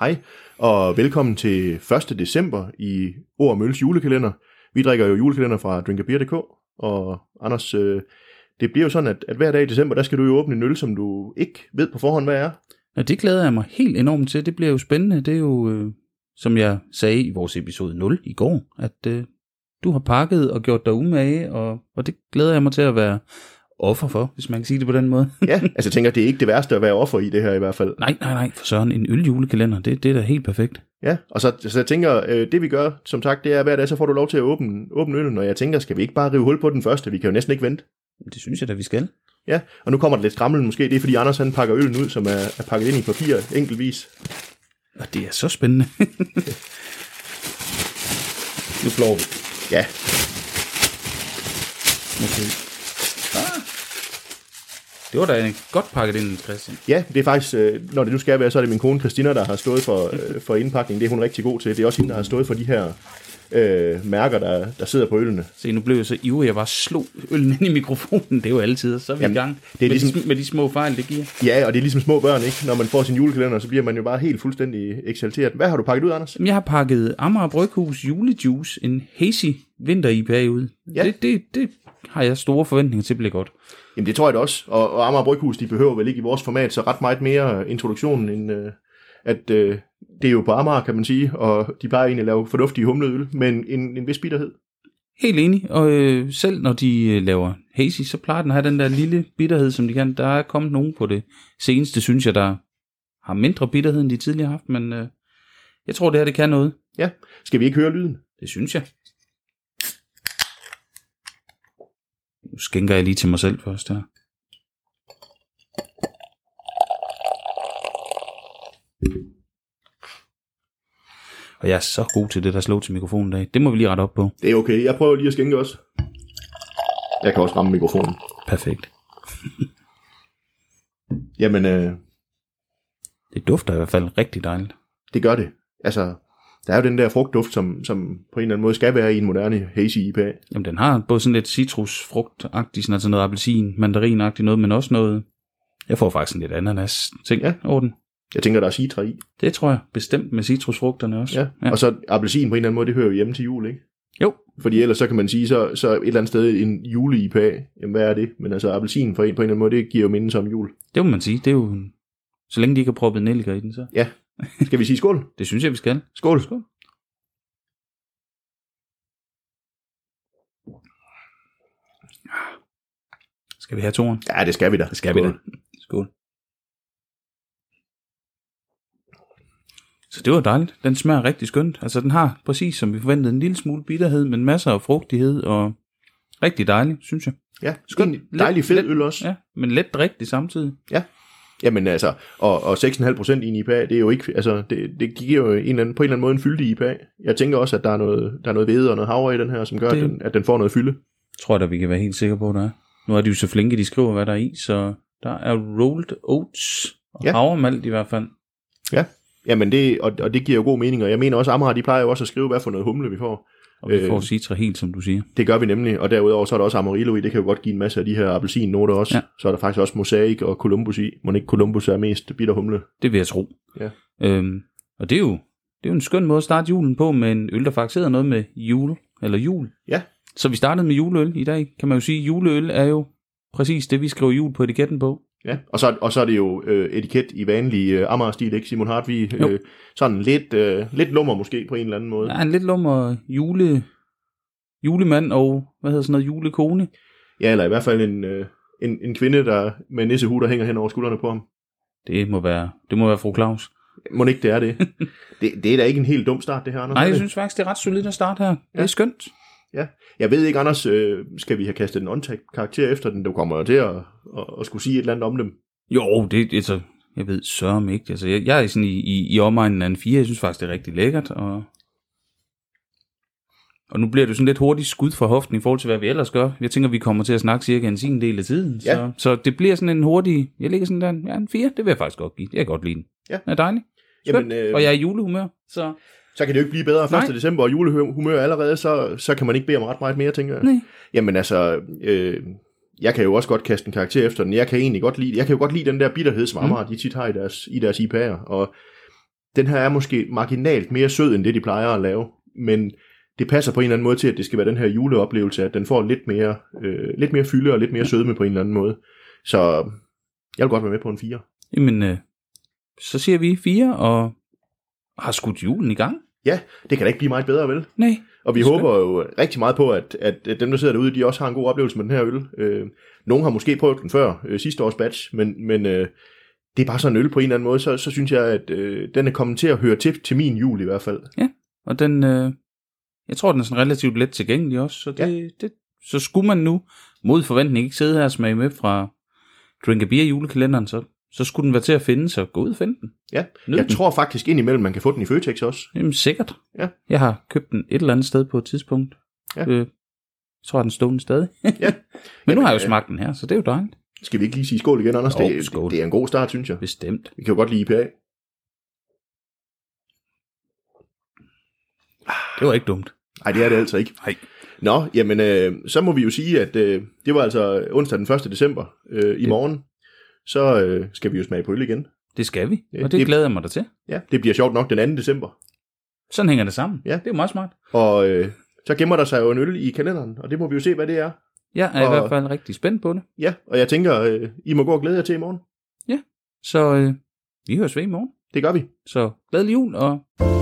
Hej, og velkommen til 1. december i Ord og Mølles julekalender. Vi drikker jo julekalender fra drinkabeer.dk, og Anders, øh, det bliver jo sådan, at, at hver dag i december, der skal du jo åbne en øl, som du ikke ved på forhånd, hvad er. Og det glæder jeg mig helt enormt til. Det bliver jo spændende. Det er jo, øh, som jeg sagde i vores episode 0 i går, at øh, du har pakket og gjort dig umage, og, og det glæder jeg mig til at være offer for, hvis man kan sige det på den måde. Ja, altså jeg tænker, det er ikke det værste at være offer i det her i hvert fald. nej, nej, nej, for søren, en øljulekalender, det, det er da helt perfekt. Ja, og så, så jeg tænker, øh, det vi gør, som sagt, det er hver dag, så får du lov til at åbne, åbne øllen, og jeg tænker, skal vi ikke bare rive hul på den første? Vi kan jo næsten ikke vente. Det synes jeg da, vi skal. Ja, og nu kommer der lidt skrammel måske, det er fordi Anders han pakker øllen ud, som er, er pakket ind i papir enkeltvis. Og det er så spændende. nu flår vi. Ja, Okay. Ah. Det var da en godt pakket ind, Christian. ja, det er faktisk, øh, når det nu skal være, så er det min kone Christina, der har stået for, øh, for indpakningen, det er hun rigtig god til. Det er også hende, der har stået for de her øh, mærker, der, der sidder på øllene. Se, nu blev jeg så ivrig, jeg bare slog øllen ind i mikrofonen. Det er jo altid, så er vi Jamen, i gang det er med, de, ligesom- sm- med de små fejl, det giver. Ja, og det er ligesom små børn, ikke? Når man får sin julekalender, så bliver man jo bare helt fuldstændig eksalteret. Hvad har du pakket ud, Anders? Jamen, Jeg har pakket Amager Bryghus julejuice, en hazy vinter i periode. Ja. Ja. Det, det, det har jeg store forventninger til bliver godt. Jamen det tror jeg da også, og, og Amager Bryghus, de behøver vel ikke i vores format så ret meget mere øh, introduktion end øh, at øh, det er jo på Amager, kan man sige, og de plejer egentlig at lave fornuftige humleøl, men en, en vis bitterhed. Helt enig, og øh, selv når de øh, laver hazy, så plejer den at have den der lille bitterhed, som de kan. Der er kommet nogen på det seneste, synes jeg, der har mindre bitterhed, end de tidligere har haft, men øh, jeg tror, det her det kan noget. Ja, skal vi ikke høre lyden? Det synes jeg. Nu skænker jeg lige til mig selv først her. Og jeg er så god til det der slå til mikrofonen i dag. Det må vi lige rette op på. Det er okay, jeg prøver lige at skænke også. Jeg kan også ramme mikrofonen. Perfekt. Jamen, øh, Det dufter i hvert fald rigtig dejligt. det gør det. Altså, der er jo den der frugtduft, som, som på en eller anden måde skal være i en moderne hazy IPA. Jamen den har både sådan lidt citrusfrugtagtigt, sådan altså noget appelsin, mandarinagtigt noget, men også noget... Jeg får faktisk en lidt ananas ting Ja. ja. over den. Jeg tænker, der er citra i. Det tror jeg bestemt med citrusfrugterne også. Ja. ja. Og så appelsin på en eller anden måde, det hører jo hjemme til jul, ikke? Jo, Fordi ellers så kan man sige, så, så et eller andet sted en jule-IPA, jamen hvad er det? Men altså appelsin for en på en eller anden måde, det giver jo mindelse om jul. Det må man sige. Det er jo... en- Så længe de ikke har proppet nelliker i den, så... Ja, skal vi sige skål? Det synes jeg, vi skal. Skål. Skål. Skal vi have toren? Ja, det skal vi da. Det skal vi da. Skål. Så det var dejligt. Den smager rigtig skønt. Altså, den har præcis som vi forventede en lille smule bitterhed, men masser af frugtighed og rigtig dejligt, synes jeg. Ja, Skål. skøn. Dejlig Let- fed let- øl også. Ja. Ja, men let rigtig samtidig. Jamen altså, og, og 6,5 procent i en IPA, det er jo ikke, altså det, det giver jo en eller anden, på en eller anden måde en fyldig IPA. Jeg tænker også, at der er noget, der er noget hvede og noget havre i den her, som gør, Det- at, den, at den får noget fylde. tror jeg da, vi kan være helt sikre på, der er. Nu er de jo så flinke, de skriver, hvad der er i, så der er rolled oats og Ja. ja. havremalt i hvert fald. Jamen det, og, og det giver jo god mening, og jeg mener også, Amager, de plejer jo også at skrive, hvad for noget humle vi får. Og vi Øh. øh. får citra helt, som du siger. Det gør vi nemlig, og derudover så er der også Amarillo i, det kan jo godt give en masse af de her appelsinnoter også. Ja. Ja. Så er der faktisk også Mosaic og Columbus i, men ikke Columbus er mest bitter humle. Det vil jeg tro. Ja. Øhm, og det er, jo, det er jo en skøn måde at starte julen på med en øl, der faktisk hedder noget med jule, eller jul. Ja. Så vi startede med juleøl i dag, kan man jo sige. Juleøl er jo præcis det, vi skriver jul på etiketten på. Ja, og så, og så er det jo øh, etiket i vanlig øh, Amager-stil, ikke Simon Hartvig? Jo. Øh, sådan lidt, øh, lidt lummer måske på en eller anden måde. Der er en lidt lummer jule, julemand og, hvad hedder sådan noget, julekone. Ja, eller i hvert fald en, øh, en, en kvinde, der med nissehue, der hænger hen over skuldrene på ham. Det må være, det må være fru Claus. Må ikke det er det. det. Det er da ikke en helt dum start, det her, Anders. Nej, er jeg det? synes faktisk, det er ret solidt at starte her. Ja. Det er skønt. Jeg ved ikke, Anders, øh, skal vi have kastet en on karakter efter den? Du kommer jo til at, at, at skulle sige et eller andet om dem. Jo, det det er så... Jeg ved sørme ikke. Altså, jeg, jeg er sådan i, i, i omegnen af en 4. Jeg synes faktisk, det er rigtig lækkert. Og, og nu bliver det jo sådan lidt hurtigt skud fra hoften i forhold til, hvad vi ellers gør. Jeg tænker, vi kommer til at snakke cirka en sin del af tiden. Ja. Så, så det bliver sådan en hurtig... Jeg ligger sådan der, en- ja, en 4. Det vil jeg faktisk godt give. Jeg kan godt lide den. Ja. Den er dejlig. Skønt. Jamen, øh, Og jeg er i julehumør, så... Så kan det jo ikke blive bedre 1. Nej. december, og julehumør allerede, så, så kan man ikke bede om ret meget mere, tænker jeg. Nej. Jamen altså, øh, jeg kan jo også godt kaste en karakter efter den. Jeg kan egentlig godt lide, jeg kan jo godt lide den der bitterhed, som Amager, de tit har i deres, i deres IPA'er. Og den her er måske marginalt mere sød, end det de plejer at lave, men det passer på en eller anden måde til, at det skal være den her juleoplevelse, at den får lidt mere, øh, lidt mere fylde og lidt mere sødme på en eller anden måde. Så jeg vil godt være med på en 4. Jamen, øh, så siger vi fire og har skudt julen i gang. Ja, det kan da ikke blive meget bedre, vel? Nej, Og vi Skønt. håber jo rigtig meget på, at, at, at dem, der sidder derude, de også har en god oplevelse med den her øl. Øh, nogle har måske prøvet den før, øh, sidste års batch, men, men øh, det er bare sådan en øl på en eller anden måde, så, så synes jeg, at øh, den er kommet til at høre til, til min jul i hvert fald. og den, øh, jeg tror, den er sådan relativt let tilgængelig også, så, det, ja. det, så skulle man nu mod forventning ikke sidde her og smage med fra Drink a Beer julekalenderen, så, så skulle den være til at finde, så gå ud og finde den. Ja, Nyd jeg den. tror faktisk indimellem, man kan få den i Føtex også. Jamen sikkert. Ja. Jeg har købt den et eller andet sted på et tidspunkt. Ja. Øh, jeg tror, den stod den stadig. Men nu Jamen, har jeg øh, jo smagt den her, så det er jo dejligt. Skal vi ikke lige sige skål igen, Anders? Jo, det, det- skål. det er en god start, synes jeg. Bestemt. Vi kan jo godt lide IPA. Det var ikke dumt. Nej, det er det altså ikke. Nej. Nå, jamen, øh, så må vi jo sige, at øh, det var altså onsdag den 1. december øh, i Det- morgen. Så øh, skal vi jo smage på øl igen. Det skal vi, Det- og det, det- det glæder jeg mig da til. Ja, det bliver sjovt nok den 2. december. Sådan hænger det sammen. Ja. Det er jo meget smart. Og øh, så gemmer der sig jo en øl i kalenderen, og det må vi jo se, hvad det er. Jeg er og... i Og- hvert fald rigtig spændt på det. Ja, og jeg tænker, øh, I må gå og glæde jer til i morgen. Så øh, vi høres ved i morgen. Det gør vi. Så glædelig jul, og